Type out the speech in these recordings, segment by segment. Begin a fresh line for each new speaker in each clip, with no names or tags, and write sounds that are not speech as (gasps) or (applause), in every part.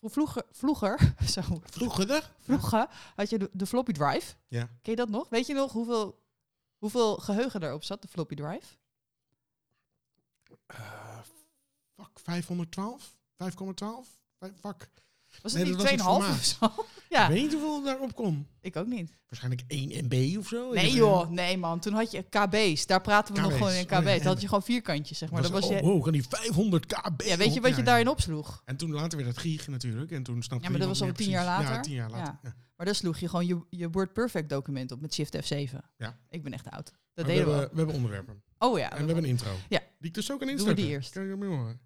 Vroeger, vroeger, (laughs) zo,
Vroeger er?
vroeger had je de, de floppy drive.
Ja.
Ken je dat nog? Weet je nog hoeveel, hoeveel geheugen erop zat, de floppy drive?
Eh, vak 512? 5,12? Vij- Vak.
Was
Nee,
het
dat was
niet
het
2,5 of zo? Ja,
Ik weet niet hoeveel daarop kon.
ik ook niet.
Waarschijnlijk 1 MB of zo.
Nee
Ik-
joh, nee man. Toen had je KB's. Daar praten we nog
KB's.
gewoon in
Oh, ja,
KB's. Dat
ja.
had je gewoon vierkantjes, zeg maar. Dat was
oh,
je,
wow, kan die 500 kb.
ja, weet je wat je
Ja,
daarin opsloeg?
En toen later weer dat gig natuurlijk. En toen snapte
Ja, maar dat
niemand
was al
meer
tien jaar
precies.
later.
Ja, tien jaar later. Ja.
Maar daar sloeg je gewoon je, je Word Perfect document op met Shift F7.
Ja.
Ik ben echt oud.
Maar
Dat
we,
deden we.
hebben, we hebben onderwerpen.
al. Oh ja.
en we hebben een intro.
Ja.
Die ik dus ook aan
we
instarten.
die eerst.
Kan je dat mee horen?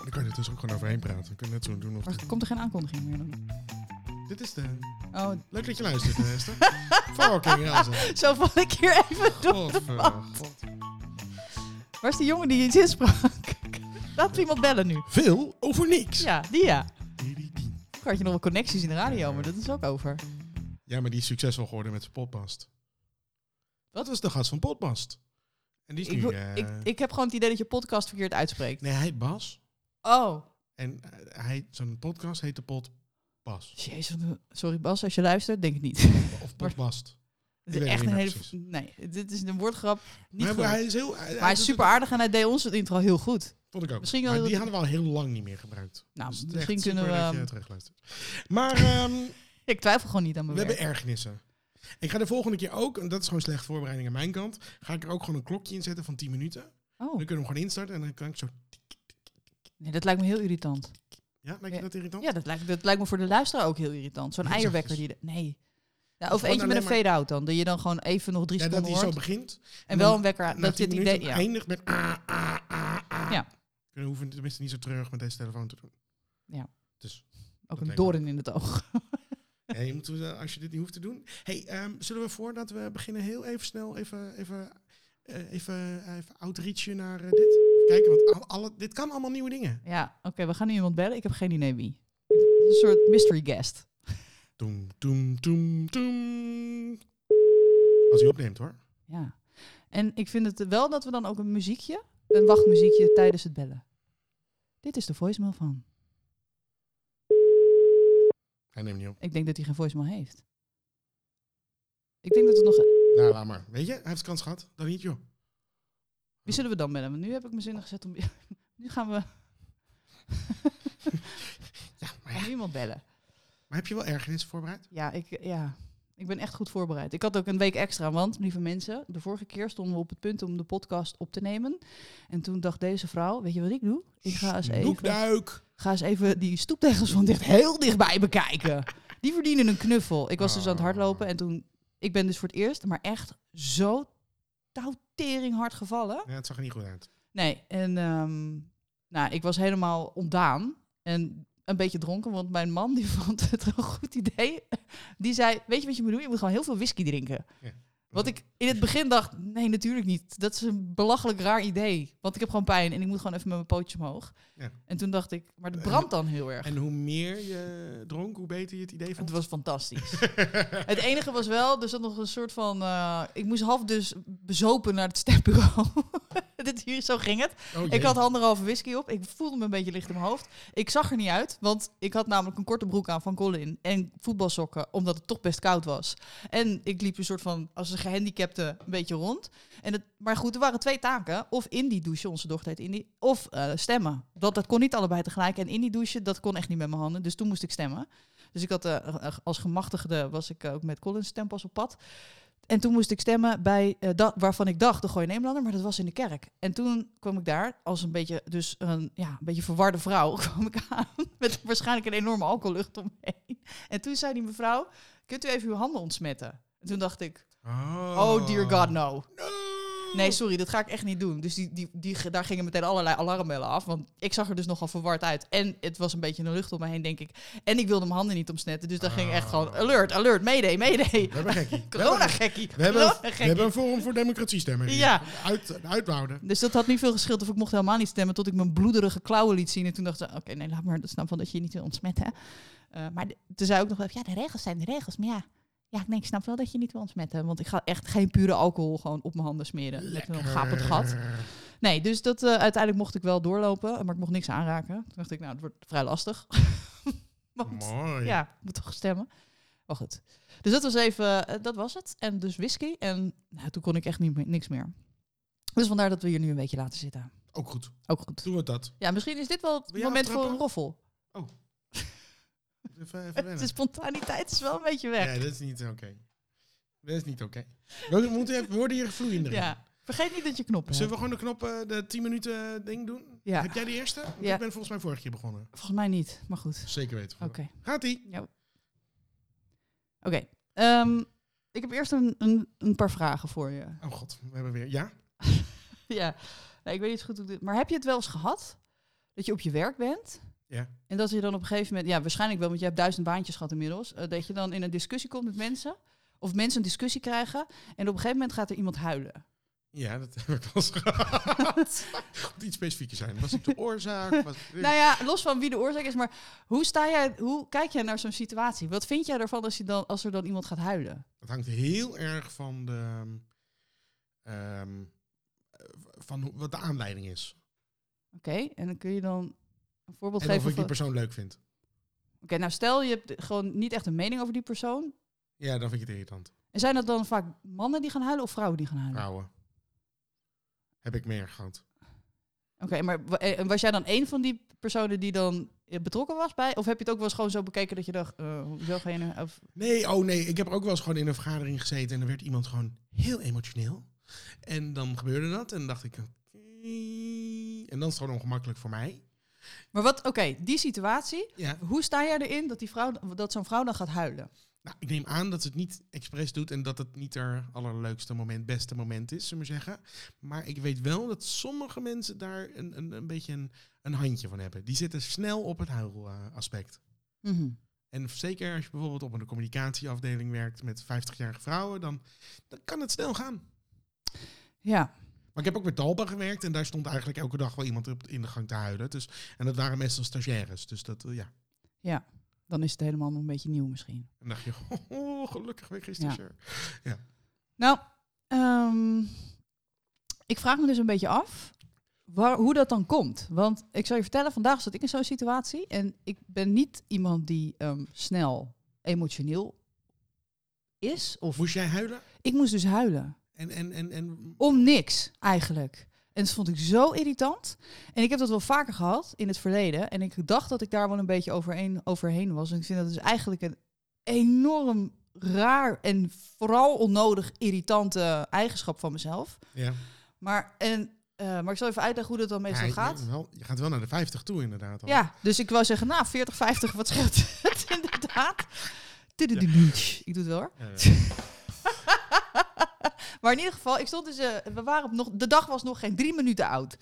Dan kan je er dus ook gewoon overheen praten. Dan kun je net
(laughs)
zo doen. Of
Maar komt er geen aankondiging meer dan?
Dit is de...
Oh,
Leuk dat je
(laughs)
luistert, Esther. Fucking hell. zeg.
zo val ik hier even door.
Godver- God.
Waar is die jongen die iets insprak? Laat iemand bellen nu.
Veel over niks.
Ja, die ja.
Die-die-die.
Vroeger had je nog wel connecties in de radio, maar dat is ook over.
Ja, maar die is succesvol geworden met zijn podcast. Dat was de gast van podcast. En die is
Ik,
nu...
wil-
eh,
ik, ik heb gewoon het idee dat je podcast verkeerd uitspreekt.
Nee, hij heet Bas.
Oh,
En eh, hij, zijn podcast heet de Pod Bas.
jezus. Sorry Bas, als je luistert, denk ik niet.
Of Podcast.
Het
Ik
is
weet
echt
het
een
niet
hele...
meer precies.
Nee, dit is een woordgrap. Niet
Maar
goed.
hij is heel... Hij,
maar hij is
doet
super
het-
aardig en hij deed ons het intro heel goed.
Vond ik ook.
Misschien wel
maar
heel-
die hadden we al heel lang niet meer gebruikt.
Nou,
Dus het is
misschien
echt
kunnen we...
super dat je
ehm,
het recht luistert. Maar
(laughs)
ehm,
ik twijfel gewoon niet aan
we
mijn
hebben
werk.
ergernissen. Ik ga de volgende keer ook, en dat is gewoon slecht voorbereiding aan mijn kant, ga ik er ook gewoon een klokje in zetten van 10 minuten.
Oh,
Dan kunnen we hem gewoon instarten en dan kan ik zo...
nee, dat lijkt me heel irritant.
Ja, lijkt je dat irritant?
Ja, dat lijkt, dat lijkt me voor de luisteraar ook heel irritant. Zo'n
Heel
eierwekker die...
zachtjes.
de- nee. Ja,
dus- Gewoon
of eentje met een
alleen maar-
fade-out dan. Dat je dan gewoon even nog drie
Ja, dat
seconden
hij zo
hoort.
begint.
En wel
dan
een wekker...
na
Dat je
10
het
minuten
idee... Ja.
eindigt met... ah, ah, ah, ah.
Ja.
We hoeven tenminste niet zo treurig met deze telefoon te
(laughs)
doen.
Ook
Dat
een
lijkt me-
doorn in het oog.
Ja, je moet, eh, als je dit niet hoeft te doen. Hey, ehm, zullen we voordat we beginnen heel even snel even, even, eh, even, even outreachen naar eh, dit? Even kijken, want al- alle, dit kan allemaal nieuwe dingen.
Ja, oké, we gaan nu iemand bellen. Ik heb geen idee wie. Een soort mystery guest.
Toem, toem, toem, toem. Als hij opneemt hoor.
Ja. En ik vind het wel dat we dan ook een muziekje, een wachtmuziekje tijdens het bellen. Dit is de voicemail van.
Hij neemt niet op.
Ik denk dat hij geen voicemail heeft. Ik denk dat het nog.
Nou, laat maar. Weet je, hij heeft kans gehad. Dan niet, joh.
Wie zullen we dan bellen? Want nu heb ik mijn zinnen gezet om. (laughs) nu gaan we
Ja, maar, ja.
gaan we iemand bellen.
maar heb je wel ergernis voorbereid?
Ja ik, eh, ja, ik ben echt goed voorbereid. Ik had ook een week extra, want lieve mensen, de vorige keer stonden we op het punt om de podcast op te nemen. En toen dacht deze vrouw: Weet je wat ik doe? Ik ga eens even.
Doekduik.
Ga eens even die stoeptegels van dicht heel dichtbij bekijken. Die verdienen een knuffel. Ik was dus aan het hardlopen en toen... Ik ben dus voor het eerst, maar echt zo touwtering hard gevallen.
Ja, het zag er niet goed uit.
Nee, en ehm, nou, ik was helemaal ontdaan en een beetje dronken, want mijn man die (laughs) vond het een goed idee. Die zei, weet je wat je moet doen? Je moet gewoon heel veel whisky drinken.
Ja.
Wat ik in het begin dacht, nee, natuurlijk niet. Dat is een belachelijk raar idee. Want ik heb gewoon pijn en ik moet gewoon even met mijn pootjes omhoog.
Ja. Eh,
En toen dacht ik, maar dat brandt dan heel erg.
En hoe meer je dronk, hoe beter je het idee vond.
Het was
(laughs)
fantastisch. het enige was wel, er zat nog een soort van... eh, ik moest half dus bezopen naar het stembureau. (laughs) Dit, hier, zo ging het.
Oh, jee.
Ik had anderhalve whisky op. Ik voelde me een beetje licht in mijn hoofd. Ik zag er niet uit, want ik had namelijk een korte broek aan van Colin. En voetbalsokken, omdat het toch best koud was. En ik liep een soort van, als een gehandicapte, een beetje rond. En het, maar goed, er waren twee taken. Of in die douche, onze dochter heet Indie, of eh, stemmen. Dat, dat kon niet allebei tegelijk. En in die douche, dat kon echt niet met mijn handen. Dus toen moest ik stemmen. Dus ik had eh, als gemachtigde was ik eh, ook met Collins stempas op pad. En toen moest ik stemmen bij eh, dat waarvan ik dacht de Gooi Nederlander, maar dat was in de kerk. En toen kwam ik daar als een beetje, dus een, ja, een beetje verwarde vrouw (laughs) kwam ik aan. Met waarschijnlijk een enorme alcohollucht omheen. En toen zei die mevrouw, kunt u even uw handen ontsmetten? En toen dacht ik, oh, dear god, no.
No.
Nee, sorry, dat ga ik echt niet doen. Dus die, die, die, daar gingen meteen allerlei alarmbellen af. Want ik zag er dus nogal verward uit. En het was een beetje een lucht om me heen, denk ik. En ik wilde mijn handen niet omsnetten. Dus daar ging echt gewoon, alert, alert, mayday, mayday.
Ah.
(laughs)
We hebben gekkie.
Corona-gekkie,
We hebben, we hebben, we
corona-gekkie.
hebben een Forum voor Democratie stemmen. hier.
Ja.
Uit, uitwouden.
Dus dat had niet veel geschild of ik mocht helemaal niet stemmen tot ik mijn bloederige klauwen liet zien. En toen dacht ze, oké, nee, laat maar, dat snap wel dat je je niet wil ontsmetten. Eh, maar de- toen zei ook nog wel, ja, de regels zijn de regels. Maar ja, ja ik, denk, ik snap wel dat je niet wil ontsmetten. Want ik ga echt geen pure alcohol gewoon op mijn handen smeren. Met een gapend gat. Nee, dus dat, eh, uiteindelijk mocht ik wel doorlopen, maar ik mocht niks aanraken. Toen dacht ik, nou, het wordt vrij lastig. (laughs) Want,
(laughs) Mooi.
ja, ik moet toch stemmen. Maar goed. Dus dat was even, eh, dat was het. En dus whisky. En nou, toen kon ik echt niet meer, niks meer. Dus vandaar dat we hier nu een beetje laten zitten.
Ook goed.
Ook goed.
Doen we
(laughs)
dat.
Ja, misschien is dit wel het
Wil jij
moment voor een
aftrappen?
roffel.
Even,
(laughs)
even
De
wennen.
spontaniteit is wel een beetje weg.
Nee, dat is niet oké. Dat is niet oké. We, moeten even, we worden hier vloeiender. in.
Ja. Vergeet niet dat je knoppen
Zullen
hebt.
we gewoon de knop, eh, de 10 minuten eh, ding doen?
Ja.
Heb jij de eerste? Want
Ja.
Ik ben volgens mij vorige keer begonnen.
Volgens mij niet, maar goed.
Zeker weten.
Oké.
Gaat ie?
Oké. Ehm, ik heb eerst een, een, een paar vragen voor je.
Oh god, we hebben weer. Ja?
(laughs) ja. Nee, ik weet niet zo goed hoe ik dit... Maar heb je het wel eens gehad? Dat je op je werk bent?
Ja.
En dat je dan op een gegeven moment... Ja, waarschijnlijk wel, want je hebt duizend baantjes gehad inmiddels. eh, dat je dan in een discussie komt met mensen. Of mensen een discussie krijgen. En op een gegeven moment gaat er iemand huilen.
Ja, dat (laughs) heb ik wel eens gehad. Moet iets specifieker zijn. Was het de oorzaak? Was het-
Nou ja, los van wie de oorzaak is. Maar hoe, sta jij, hoe kijk jij naar zo'n situatie? Wat vind jij ervan als, je dan, als er dan iemand gaat huilen?
Het hangt heel erg van de, ehm, eh, van hoe- wat de aanleiding is.
Oké, en dan kun je dan een voorbeeld
En
geven.
of ik
van-
die persoon leuk vind.
Oké, nou stel je hebt gewoon niet echt een mening over die persoon.
Ja, dan vind ik het irritant.
En zijn dat dan vaak mannen die gaan huilen of vrouwen die gaan huilen?
Vrouwen. Heb ik meer gehad.
Oké, maar wa- eh, en was jij dan één van die personen die dan eh, betrokken was bij? Of heb je het ook wel eens gewoon zo bekeken dat je dacht, eh hoezo ga je nou- Of,
Nee, oh nee. Ik heb ook wel eens gewoon in een vergadering gezeten en er werd iemand gewoon heel emotioneel. En dan gebeurde dat en dan dacht ik... oké. En dan is het gewoon ongemakkelijk voor mij.
maar wat, oké, die situatie.
Ja.
Hoe sta jij erin dat, die vrouw, dat zo'n vrouw dan gaat huilen?
Nou, ik neem aan dat ze het niet expres doet en dat het niet haar allerleukste moment, beste moment is, zullen we maar zeggen. Maar ik weet wel dat sommige mensen daar een, een, een beetje een, een handje van hebben. Die zitten snel op het huilaspect. En zeker als je bijvoorbeeld op een communicatieafdeling werkt met 50-jarige vrouwen, dan, dan kan het snel gaan.
Ja,
Maar ik heb ook met Talpa gewerkt en daar stond eigenlijk elke dag wel iemand op- in de gang te huilen. Dus, en dat waren meestal stagiaires. Dus dat, eh, ja.
dan is het helemaal nog een beetje nieuw misschien.
En dan dacht je, (laughs) oh, gelukkig ben ik geen stagiair.
Nou, ehm, ik vraag me dus een beetje af waar, hoe dat dan komt. Want ik zal je vertellen, vandaag zat ik in zo'n situatie en ik ben niet iemand die ehm, snel emotioneel is. Of
Moest jij huilen?
ik moest dus huilen.
En, en, en, en
Om niks eigenlijk. En dat vond ik zo irritant. En ik heb dat wel vaker gehad in het verleden. En ik dacht dat ik daar wel een beetje overheen, overheen was. En ik vind dat dus eigenlijk een enorm raar en vooral onnodig irritante eigenschap van mezelf.
ja.
Maar, en, eh, maar ik zal even uitleggen hoe dat dan meestal
Ja, je-
gaat.
Je, wel- je gaat wel naar de 50 toe, inderdaad. al.
Ja, dus ik wou zeggen, nou, 40, 50, wat scheelt het inderdaad? Tududududu. Ik doe het wel hoor.
Ja, ja.
maar in ieder geval, ik stond dus, eh, we waren op nog, de dag was nog geen drie minuten oud.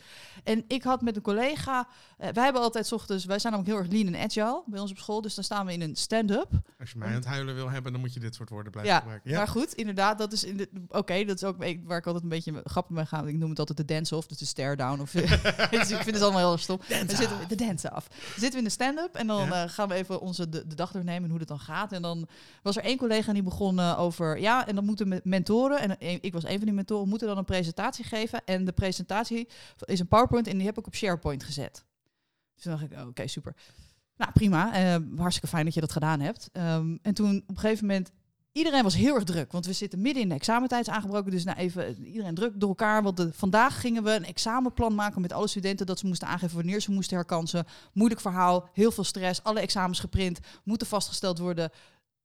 En ik had met een collega, eh, wij hebben altijd 's ochtends, wij zijn namelijk heel erg lean en agile bij ons op school, dus dan staan we in een stand-up.
Als je mij aan het huilen wil hebben, dan moet je dit soort woorden blijven
Ja,
gebruiken. Ja.
Maar goed, inderdaad, dat is in de, oké, dat is ook een- waar ik altijd een beetje grappen mee ga. Ik noem het altijd de dance-off, dus de stare-down. Of, (laughs) dus ik vind het allemaal heel erg stom. Dan zitten we, de dance af. Dan zitten we in de stand-up en dan
Ja.
eh, gaan we even onze de, de dag doornemen en hoe dat dan gaat. En dan was er één collega die begon eh, over, ja, en dan moeten me- mentoren, en een- ik was een van die mentoren, moeten dan een presentatie geven. En de presentatie is een PowerPoint en die heb ik op SharePoint gezet. Dus toen dacht ik, oh, oké, super. Nou, prima. Eh, hartstikke fijn dat je dat gedaan hebt. Ehm, en toen op een gegeven moment... Iedereen was heel erg druk, want we zitten midden in de examentijd is aangebroken. Dus nou even eh, iedereen druk door elkaar. Want de- vandaag gingen we een examenplan maken met alle studenten. Dat ze moesten aangeven wanneer ze moesten herkansen. Moeilijk verhaal, heel veel stress. Alle examens geprint, moeten vastgesteld worden.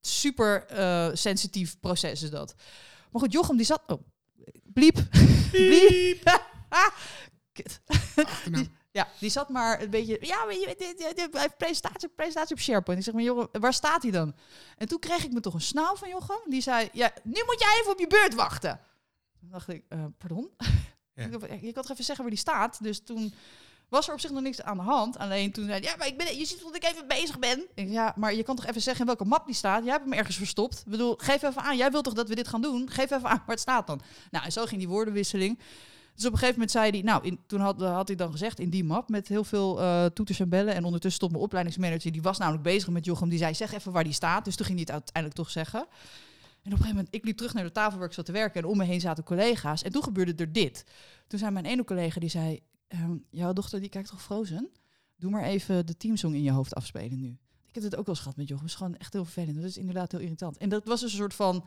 Super eh, sensitief proces is dat. Maar goed, Jochem die zat... Oh, bliep. (laughs) bliep. Kut.
Achternaam.
Ja, die zat maar een beetje. Ja, maar je, dit, dit- dit- hij heeft presentatie, presentatie op SharePoint. Ik zeg maar, Jochem, waar staat hij dan? En toen kreeg ik me toch een snauw van Jochem. Die zei: Ja, nu moet jij even op je beurt wachten. Toen dacht ik: eh, Pardon?
Ja.
Ik dacht, "Ja, Je kan toch even zeggen waar die staat? Dus toen was er op zich nog niks aan de hand. Alleen toen zei hij: Ja, maar ik ben, je ziet dat ik even bezig ben. Ik zeg, ja, maar je kan toch even zeggen in welke map die staat? Jij hebt hem ergens verstopt. Ik bedoel, geef even aan. Jij wilt toch dat we dit gaan doen? Geef even aan waar het staat dan. Nou, en zo ging die woordenwisseling. Dus op een gegeven moment zei hij, nou, in, toen had, had hij dan gezegd in die map met heel veel eh, toeters en bellen. En ondertussen stond mijn opleidingsmanager, die was namelijk bezig met Jochem, die zei, zeg even waar die staat. Dus toen ging hij het uiteindelijk toch zeggen. En op een gegeven moment, ik liep terug naar de tafel waar ik zat te werken. En om me heen zaten collega's. En toen gebeurde er dit. Toen zei mijn ene collega, die zei... ehm, jouw dochter, die kijkt toch Frozen? Doe maar even de teamsong in je hoofd afspelen nu. Ik heb het ook wel eens gehad met Jochem. Het is gewoon echt heel vervelend. Dat is inderdaad heel irritant. En dat was dus een soort van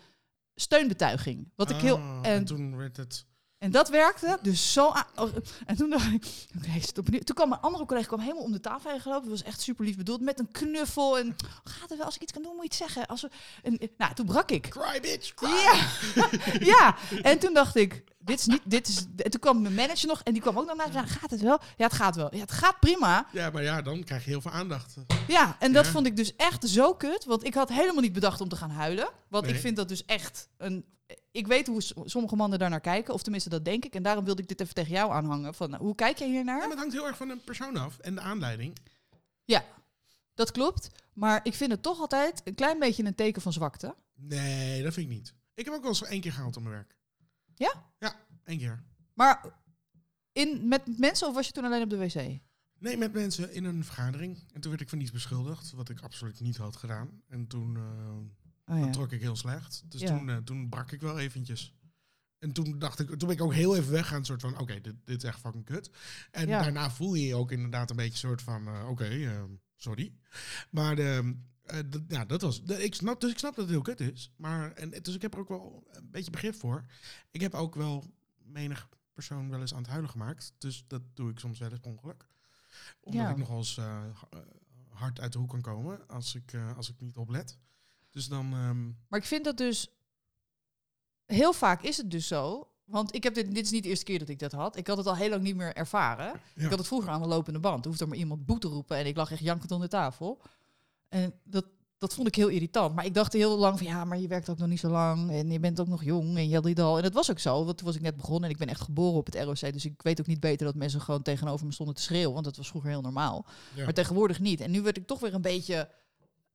steunbetuiging. Wat ik heel...
Ah,
en-
en toen werd het...
en dat werkte dus zo aan. oh, En toen dacht ik, oké, is het opnieuw. Toen kwam mijn andere collega kwam helemaal om de tafel heen gelopen. Het was echt super lief bedoeld, met een knuffel. En "Oh, gaat het wel, als ik iets kan doen, moet je iets zeggen. Als we, en, eh, nou, toen brak ik.
Cry, bitch, cry!
Ja. (laughs) ja, en toen dacht ik, dit is niet, dit is... En toen kwam mijn manager nog en die kwam ook nog naar me en zei, gaat het wel? Ja, het gaat wel. Ja, het gaat prima.
Ja, maar ja, dan krijg je heel veel aandacht.
Ja, en dat
Ja.
vond ik dus echt zo kut. Want ik had helemaal niet bedacht om te gaan huilen. Want ik
Nee.
vind dat dus echt een... Ik weet hoe s- sommige mannen daarnaar kijken. Of tenminste, dat denk ik. En daarom wilde ik dit even tegen jou aanhangen. Van, nou, hoe kijk jij hiernaar?
Ja, maar het hangt heel erg van een persoon af en de aanleiding.
Dat klopt. Maar ik vind het toch altijd een klein beetje een teken van zwakte.
Nee, dat vind ik niet. Ik heb ook wel eens één keer gehaald op mijn werk.
Ja?
Ja, één keer.
Maar in, met mensen of was je toen alleen op de wc?
Nee, met mensen in een vergadering. En toen werd ik van iets beschuldigd, wat ik absoluut niet had gedaan. En toen eh,
Oh, ja.
trok ik heel slecht. Dus
Ja.
toen, eh, toen brak ik wel eventjes. En toen dacht ik, toen ben ik ook heel even weggaan, soort van, oké, dit, dit is echt fucking kut. En
Ja.
daarna voel je je ook inderdaad een beetje soort van, eh, oké, eh, sorry. Maar de, eh, dat- ja, dat was, de- ik snap, dus ik snap dat het heel kut is. Maar, en, dus ik heb er ook wel een beetje begrip voor. Ik heb ook wel menig persoon wel eens aan het huilen gemaakt. Dus dat doe ik soms wel eens per ongeluk. Omdat
Ja.
ik nog wel eens eh, ha- eh, hard uit de hoek kan komen als ik, eh, als ik niet oplet. Dus dan... ehm,
Maar ik vind dat dus... Heel vaak is het dus zo... Want ik heb dit, dit is niet de eerste keer dat ik dat had. Ik had het al heel lang niet meer ervaren. Ik had het vroeger aan de lopende band. Er hoefde er maar iemand boete te roepen en ik lag echt jankend onder tafel. En dat, dat vond ik heel irritant. Maar ik dacht heel lang van ja, maar je werkt ook nog niet zo lang en je bent ook nog jong en dit al. En dat was ook zo, want toen was ik net begonnen en ik ben echt geboren op het ROC. Dus ik weet ook niet beter dat mensen gewoon tegenover me stonden te schreeuwen, want dat was vroeger heel normaal.
Ja.
Maar tegenwoordig niet. En nu werd ik toch weer een beetje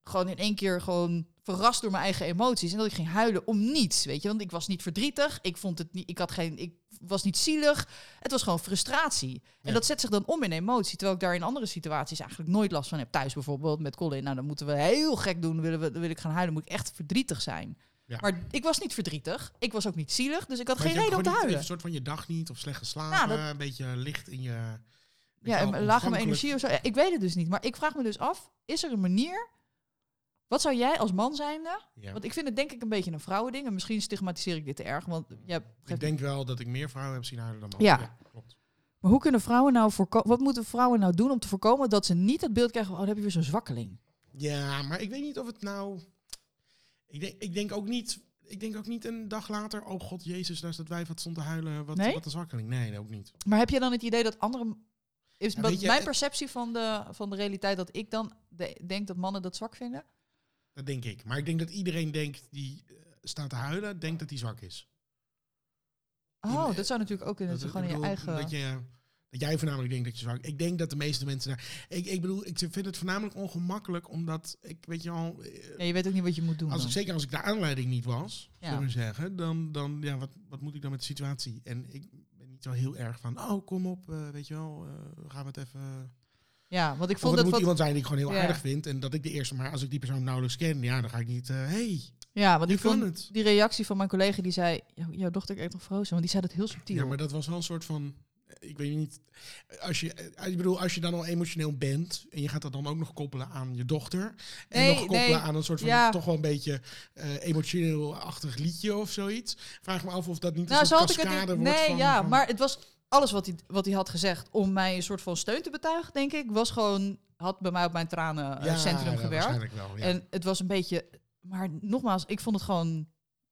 gewoon in één keer gewoon verrast door mijn eigen emoties en dat ik ging huilen om niets, weet je? Want ik was niet verdrietig, ik vond het niet, ik had geen, ik was niet zielig. Het was gewoon frustratie. En
Ja.
dat zet zich dan om in emotie. Terwijl ik daar in andere situaties eigenlijk nooit last van heb. Thuis bijvoorbeeld met Colin. Nou, dan moeten we heel gek doen. Willen we, wil ik gaan huilen, moet ik echt verdrietig zijn.
Ja.
Maar ik was niet verdrietig. Ik was ook niet zielig. Dus ik had
Maar je
geen
hebt
reden om te
gewoon
huilen.
niet- Een soort van je dag niet of slecht geslapen,
Nou,
een beetje licht in je.
Ja,
weet je wel,
en lager mijn
ontvankelijk.
energie of zo. Ja, Ik weet het dus niet. Maar ik vraag me dus af, is er een manier... Wat zou jij als man zijnde...
Ja.
Want ik vind het denk ik een beetje een vrouwending. En misschien stigmatiseer ik dit te erg. Want jij
Ik denk wel dat ik meer vrouwen heb zien huilen dan mannen.
Ja.
klopt.
Maar hoe kunnen vrouwen nou voorkomen... Wat moeten vrouwen nou doen om te voorkomen dat ze niet het beeld krijgen... van, Oh, dan heb je weer zo'n zwakkeling.
Ja, maar ik weet niet of het nou. Ik denk, ik denk ook niet. Ik denk ook niet een dag later. Oh god, Jezus, daar is dat wijf wat stond te huilen. Wat,
Nee?
wat een zwakkeling. Nee, ook niet.
Maar heb je dan het idee dat andere... Is
Ja,
wat
weet je,
mijn
eh,
perceptie van de, van de realiteit dat ik dan de- denk dat mannen dat zwak vinden?
Dat denk ik. Maar ik denk dat iedereen denkt die eh, staat te huilen, denkt dat hij zwak is.
Oh,
eh,
dat zou natuurlijk ook in het
Dat-
gewoon
ik
in je
bedoel,
eigen...
Dat, je, dat jij voornamelijk denkt dat je zwak... Ik denk dat de meeste mensen daar... Ik, ik bedoel, ik vind het voornamelijk ongemakkelijk, omdat ik, weet je al... eh,
Ja, je weet ook niet wat je moet doen.
Als ik,
dan.
zeker als ik de aanleiding niet was,
Ja.
zullen we zeggen, dan, dan ja, wat, wat moet ik dan met de situatie? En ik ben niet zo heel erg van, oh, kom op, eh, weet je wel, eh, gaan we het even...
Ja, want ik
Of
vond dat
het moet
wat...
iemand zijn die ik gewoon heel
Ja.
aardig vind en dat ik de eerste, maar als ik die persoon nauwelijks ken, ja, dan ga ik niet, eh, hey,
Ja, want
je
ik
kan
vond
het.
die reactie van mijn collega die zei... "Jou- Jouw dochter eet nog frozen, want die zei dat heel subtiel.
Ja, maar dat was wel een soort van. Ik weet niet. Als je, eh, ik bedoel, als je dan al emotioneel bent. en je gaat dat dan ook nog koppelen aan je dochter. en
Nee,
nog koppelen
nee.
aan een soort van.
Ja.
toch wel een beetje. eh, emotioneel-achtig liedje of zoiets. Vraag me af of dat niet.
nou,
een
zo
soort
had ik het
cascade
niet...
wordt.
Nee,
van-
ja,
van-
maar het was alles wat hij, wat hij had gezegd om mij een soort van steun te betuigen, denk ik, was gewoon... Had bij mij op mijn
Ja,
tranencentrum
ja,
eh, gewerkt.
Waarschijnlijk wel. Ja.
En het was een beetje. Maar nogmaals, ik vond het gewoon.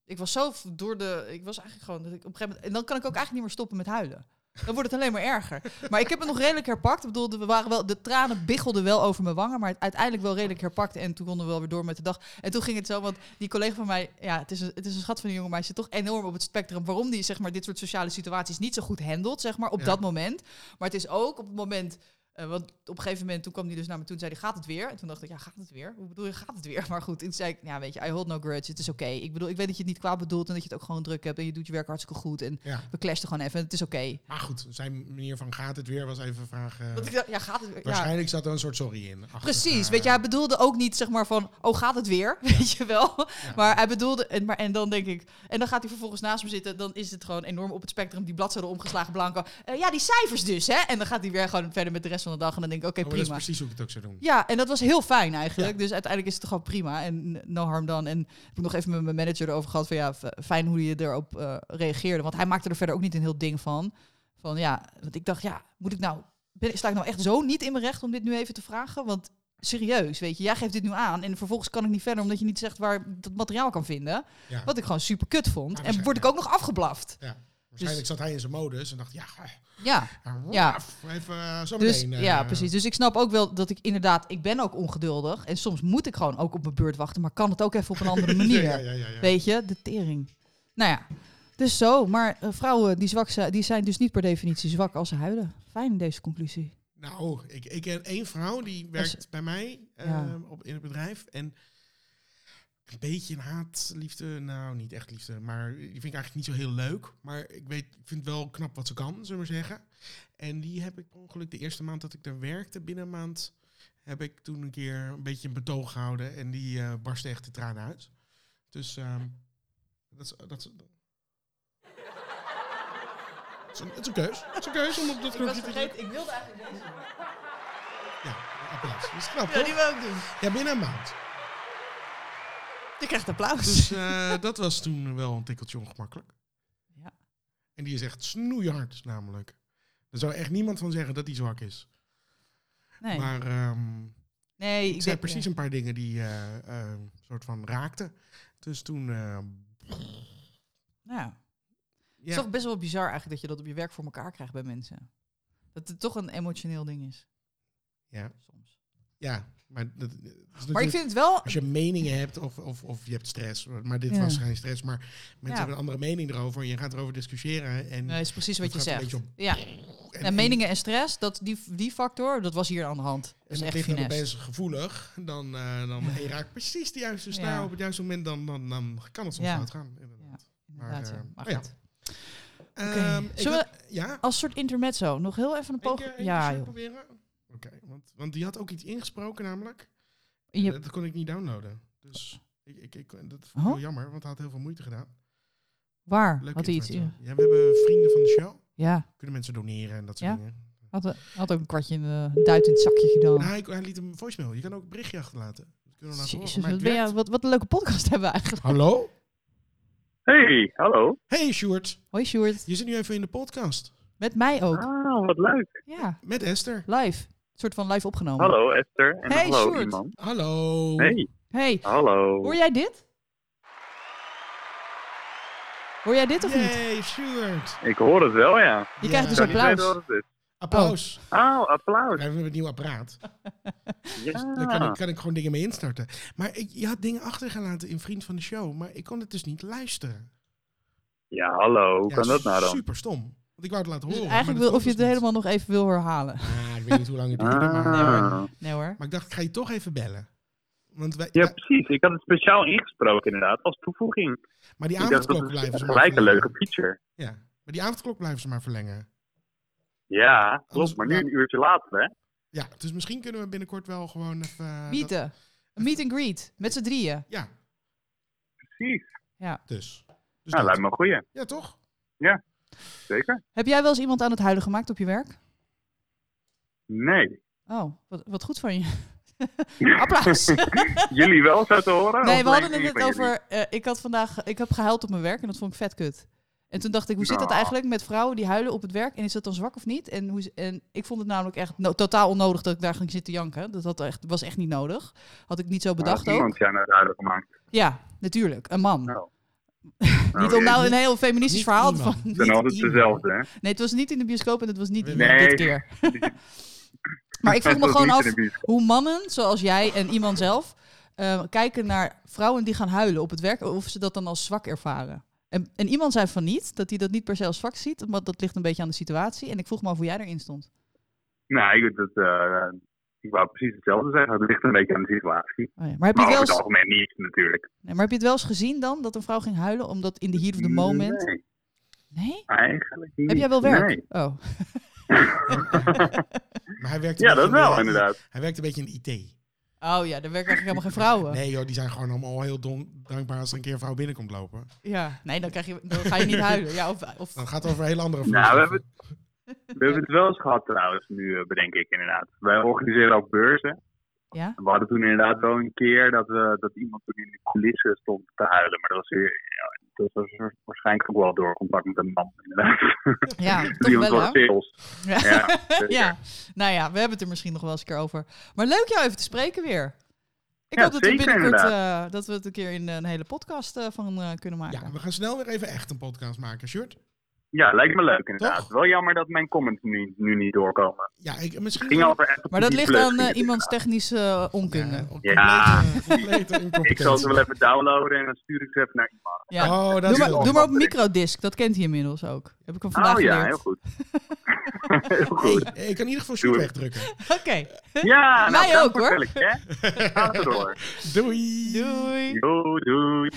Ik was zo v- door de. Ik was eigenlijk gewoon. Dat ik op een gegeven moment, en dan kan ik ook eigenlijk niet meer stoppen met huilen. Dan wordt het alleen maar erger. Maar ik heb het nog redelijk herpakt. Ik bedoel, we waren wel, de tranen biggelden wel over mijn wangen. Maar het uiteindelijk wel redelijk herpakt. En toen konden we wel weer door met de dag. En toen ging het zo. Want die collega van mij. Ja, het is een, het is een schat van een jongen. Maar hij zit toch enorm op het spectrum. Waarom die zeg maar, dit soort sociale situaties niet zo goed handelt. Zeg maar, op
Ja.
dat moment. Maar het is ook op het moment eh, Eh, want op een gegeven moment, toen kwam hij dus naar me toe en zei hij, gaat het weer? En toen dacht ik, ja, gaat het weer? Hoe bedoel je, gaat het weer? (laughs) Maar goed, toen zei ik, ja, weet je, I hold no grudge, het is oké. Ik bedoel, ik weet dat je het niet kwaad bedoelt en dat je het ook gewoon druk hebt en je doet je werk hartstikke goed. En
Ja.
we clashten gewoon even, het is oké.
Maar goed, zijn manier van gaat het weer was even een vraag. eh,
Want ik dacht, ja, gaat het weer? Ja.
waarschijnlijk zat er een soort sorry in. achter,
Precies,
eh,
weet je, hij bedoelde ook niet zeg maar van, oh gaat het weer, (laughs) weet je wel. Maar hij bedoelde, en, maar, en dan denk ik, en dan gaat hij vervolgens naast me zitten, dan is het gewoon enorm op het spectrum, die bladzijden omgeslagen, blanco. Eh, ja, die cijfers dus, hè. En dan gaat hij weer gewoon verder met de rest van de dag en dan denk ik, oké,
oh, maar Dat
prima.
is precies hoe ik het ook zou doen.
Ja, en dat was heel fijn eigenlijk. Dus uiteindelijk is het gewoon prima. En no harm done. En heb ik nog even met mijn manager erover gehad van ja, f- fijn hoe je erop eh, reageerde. Want hij maakte er verder ook niet een heel ding van. Van ja, want ik dacht, ja, moet ik nou, ben, sta ik nou echt zo niet in mijn recht om dit nu even te vragen? Want serieus, weet je, jij geeft dit nu aan. En vervolgens kan ik niet verder omdat je niet zegt waar ik dat materiaal kan vinden.
Ja.
Wat ik gewoon super kut vond.
Ja,
en word ik ook nog afgeblaft. dus-
Waarschijnlijk zat hij in zijn modus en dacht, ja, ga-
Ja.
ja,
Ja.
waf, even eh, zo
Dus,
meteen, eh,
ja,
(laughs)
precies. Dus ik snap ook wel dat ik inderdaad, ik ben ook ongeduldig. En soms moet ik gewoon ook op mijn beurt wachten, maar kan het ook even op een
(laughs)
andere manier.
Ja, ja, ja, ja, ja.
Weet je, de tering. Nou ja, dus zo. Maar eh, vrouwen die zwak zijn, die zijn dus niet per definitie zwak als ze huilen. Fijn deze conclusie.
Nou, ik, ik ken één vrouw die werkt bij mij eh,
Ja.
op, in het bedrijf. En een beetje een haatliefde. Nou, niet echt liefde. Maar die vind ik eigenlijk niet zo heel leuk. Maar ik, weet, ik vind wel knap wat ze kan, zullen we maar zeggen. En die heb ik per ongeluk de eerste maand dat ik daar werkte, binnen een maand... heb ik toen een keer een beetje een betoog gehouden. En die eh, barstte echt de tranen uit. Dus ehm, dat, is,
(laughs)
dat, is, het is een, het is een keus. Het is een keus om op dat knopje te drukken.
ik wilde eigenlijk deze.
Ja, applaus. Dat is knap,
Ja,
hoor.
die wil ik doen.
Ja, binnen een maand.
Je krijgt applaus.
(laughs) Dus eh, dat was toen wel een tikkeltje ongemakkelijk.
Ja.
En die is echt snoeihard, namelijk. Er zou echt niemand van zeggen dat hij zwak is.
nee,
Maar ehm,
nee,
ik
ik
zei
weet-
precies een paar dingen die eh, eh, soort van raakten. Dus toen... eh,
Nou, ja. Het
ja,
is toch best wel bizar eigenlijk dat je dat op je werk voor elkaar krijgt bij mensen. Dat het toch een emotioneel ding is.
Ja.
Soms.
ja, maar dat, dat is
Maar ik
natuurlijk-
vind het wel
Als je meningen hebt of, of, of je hebt stress, maar dit
Ja.
was geen stress, maar mensen
Ja.
hebben een andere mening erover en je gaat erover discussiëren. En,
Nee, is precies wat
Het
je
gaat een
zegt.
beetje
Ja,
en,
en, meningen en stress, dat, die, die factor, dat was hier aan de hand. Dat is
en
echt
ligt dan
finesse.
opeens gevoelig, dan, eh dan en je raakt precies de juiste snaar
Ja.
op het juiste moment, dan, dan, dan kan het soms
Ja.
fout gaan. inderdaad.
Inderdaad,
maar,
ja.
eh,
Maar
oh ja.
goed.
Ehm, ik
Zullen
had- ja,
Als soort intermezzo, nog heel even een
één
poging.
keer, één
Ja,
keer
joh.
proberen. Oké, want, want die had ook iets ingesproken namelijk. Eh,
In je-
Dat kon ik niet downloaden. Dus ik, ik, ik, dat vond ik
Oh.
heel jammer, want hij had heel veel moeite gedaan.
waar?
Leuk
had hij iets? in-
Ja, we hebben vrienden van de show.
Ja,
Kunnen mensen doneren en dat soort
Ja?
dingen.
had, had ook een kwartje in de duit in het zakje gedaan.
Nou, hij, hij liet een voicemail. Je kan ook een berichtje achterlaten. Dat kunnen we laten horen.
Jezus,
Maar
wat,
het
ben jij-
werkt.
wat, wat een leuke podcast hebben we eigenlijk.
Hallo?
Hey, hallo.
Hey Sjoerd,
Hoi Sjoerd,
je zit nu even in de podcast.
met mij ook.
Ah, wat leuk.
Ja,
Met Esther.
live. Een soort van live opgenomen.
Hallo Esther en
Hey,
hallo
Sjoerd.
iemand.
Hallo.
Hey,
Hey,
hallo.
hoor jij dit? Hoor jij dit of niet?
Hey Sjoerd.
Ik hoor het wel, ja.
Je krijgt dus
Ik zou niet weten
applaus.
wat het is.
Applaus.
Oh,
We
applaus.
hebben een nieuw apparaat. Dan kan
Ja.
ik, kan ik gewoon dingen mee instarten. Maar ik, je had dingen achtergelaten in Vriend van de Show, maar ik kon het dus niet luisteren.
ja, hallo. Hoe
Ja,
kan dat nou dan?
Super stom. Want ik wou het laten
Dus
horen.
eigenlijk
maar
wil, of
dat
je
kon
het
dus niet.
helemaal nog even wil herhalen.
Ah, ik weet niet hoe lang het duurde, maar,
Ah.
Nee hoor.
maar ik dacht, ik ga je toch even bellen. Want wij,
Ja, precies. Ik had het speciaal ingesproken inderdaad, als toevoeging.
maar die
ik dacht,
avondklok
dat
blijven
is
ze maar
gelijk een
verlengen.
leuke feature.
Ja, maar die avondklok blijven ze maar verlengen.
Ja,
Anders-
klopt. Maar nu
ja.
een uurtje later, hè.
Ja, dus misschien kunnen we binnenkort wel gewoon even... eh, dat-
Mieten. Een meet and greet. Met z'n drieën.
Ja,
Precies.
dus. dus
Nou,
dat.
lijkt me een goeie.
Ja, toch?
Zeker?
Heb jij wel eens iemand aan het huilen gemaakt op je werk?
Nee.
Oh, wat, wat goed van je. Applaus.
(laughs) jullie wel, zo te horen?
nee,
Of
we hadden
alleen
het
ik
net
van jullie?
over... eh, ik had vandaag... Ik heb gehuild op mijn werk en dat vond ik vet kut. En toen dacht ik, hoe zit dat
Nou.
eigenlijk met vrouwen die huilen op het werk? En is dat dan zwak of niet? En, hoe, is- en ik vond het namelijk echt no- totaal onnodig dat ik daar ging zitten janken. Dat had echt, was echt niet nodig. Had ik niet zo
Nou,
bedacht ook.
Iemand zijn er duidelijk gemaakt.
Ja, natuurlijk. Een man.
Nou.
(laughs) niet om
jee.
nou een heel feministisch
Niet
verhaal
iemand.
van...
Dan altijd
iemand.
dezelfde, hè?
Nee, het was niet in de bioscoop en het was niet
Nee.
iemand dit
(laughs)
keer. Maar ik vroeg me
Dat
gewoon
niet
af
in de bioscoop.
hoe mannen, zoals jij en iemand zelf, eh, kijken naar vrouwen die gaan huilen op het werk, of ze dat dan als zwak ervaren. En, en iemand zei van niet, dat hij dat niet per se als zwak ziet, maar dat ligt een beetje aan de situatie. En ik vroeg me af hoe jij erin stond.
Nou, ik, dat, eh, ik wou precies hetzelfde zeggen. Het ligt een beetje aan de situatie.
Oh ja, Maar, heb je
Maar
het wel
over het
eens,
algemeen niet, natuurlijk.
nee, maar heb je het wel eens gezien dan, dat een vrouw ging huilen omdat in de heat of the moment...
Nee,
Nee?
eigenlijk niet.
Heb jij wel werk?
Nee.
Oh,
Maar hij werkt een
Ja,
beetje
dat
in de-
(laughs)
wel, inderdaad.
Hij werkt een beetje in de IT.
oh ja, daar werken eigenlijk helemaal geen vrouwen.
Nee joh, die zijn gewoon allemaal heel dom, dankbaar als er een keer een vrouw binnenkomt lopen.
Ja, nee, dan, krijg je, dan ga je niet huilen. Ja, of, of,
Dan gaat het over een hele andere
(laughs) Nou,
vrouw.
we hebben- We hebben het wel eens gehad trouwens, nu eh, bedenk ik inderdaad. Wij organiseren ook beurzen.
ja?
En We hadden toen inderdaad wel een keer dat, we, dat iemand toen in de coulissen stond te huilen. Maar dat was, weer, ja, dat was waarschijnlijk ook wel door contact met een man inderdaad. (laughs)
ja,
Dus
toch
iemand
wel,
was
hè?
sales.
Ja. (laughs)
Ja, zeker.
ja, nou ja, we hebben het er misschien nog wel eens een keer over. Maar leuk jou even te spreken weer. Ik
Ja,
hoop dat we
zeker,
binnenkort eh, dat we het een keer in een hele podcast eh, van eh, kunnen maken.
Ja, we gaan snel weer even echt een podcast maken, Short.
Ja, lijkt me leuk inderdaad.
Toch?
Wel jammer dat mijn comments nu, nu niet doorkomen.
Ja, ik, misschien...
Het ging over Apple
maar dat
TV+,
ligt aan
ging
eh,
het
iemands technische eh, onkunde.
Ja,
Ja,
op
Ja.
complete- complete
(laughs) Ik zal ze
incompetentie.
wel even downloaden en dan stuur ik ze even naar iemand.
Oh, dat
Doe,
is
maar,
wel-
doe maar op microdisc, dat kent hij inmiddels ook. Heb ik hem vandaag
Oh ja, heel
geleerd. (laughs)
goed. heel goed.
Hey, eh, ik kan in ieder geval Short
Doe.
wegdrukken.
(laughs)
(laughs)
Oké,
Ja, nou,
Mij
dank
ook,
voor
hoor.
het belletje, hè. Gaat er
(laughs)
door.
Doei!
doei.
Doei, doei.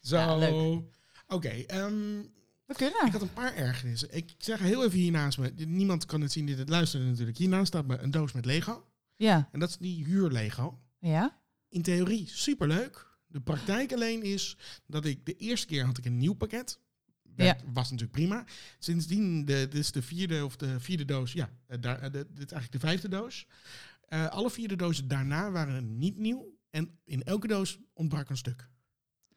Zo.
Ja, leuk.
Oké, ehm,
We kunnen.
ik had een paar ergernissen. Ik zeg heel even hier naast me. dit- Niemand kan het zien die dit luistert natuurlijk. Hiernaast staat me een doos met Lego.
Ja,
En dat is die huur-Lego.
ja.
In theorie superleuk. De praktijk alleen is dat ik de eerste keer had ik een nieuw pakket. Dat was natuurlijk prima. Sindsdien, de, dit is de vierde of de vierde doos. Ja, eh, daar, eh, dit dit is eigenlijk de vijfde doos. Eh, alle vierde dozen daarna waren niet nieuw. En in elke doos ontbrak een stuk.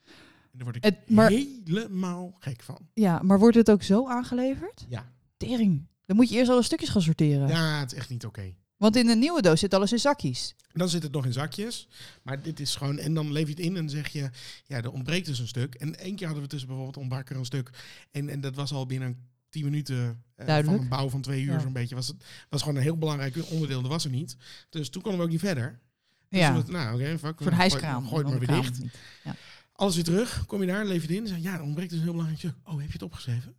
En daar word ik
Het- maar-
helemaal gek van.
ja, maar wordt het ook zo aangeleverd?
Ja,
Tering. Dan moet je eerst alle stukjes gaan sorteren.
ja het is echt niet oké.
Want in de nieuwe doos zit alles in zakjes.
Dan zit het nog in zakjes. Maar dit is gewoon. En dan leef je het in en zeg je. Ja, er ontbreekt dus een stuk. En één keer hadden we tussen bijvoorbeeld ontbrak er een stuk. En, en dat was al binnen tien minuten. eh, van
Duidelijk.
een bouw van twee uur
Ja.
zo'n beetje. Was het was gewoon een heel belangrijk onderdeel. Dat was er niet. Dus toen konden we ook niet verder. Dus
Ja,
toen
een
dacht ik, nou, oké, fuck.
soort hijskraam.
Gooi
van
het
de
maar weer
kraan
dicht.
of niet.
Alles weer terug. Kom je daar, leef je het in. Zeg, ja, er ontbreekt dus een heel belangrijk stuk. Oh, heb je het opgeschreven?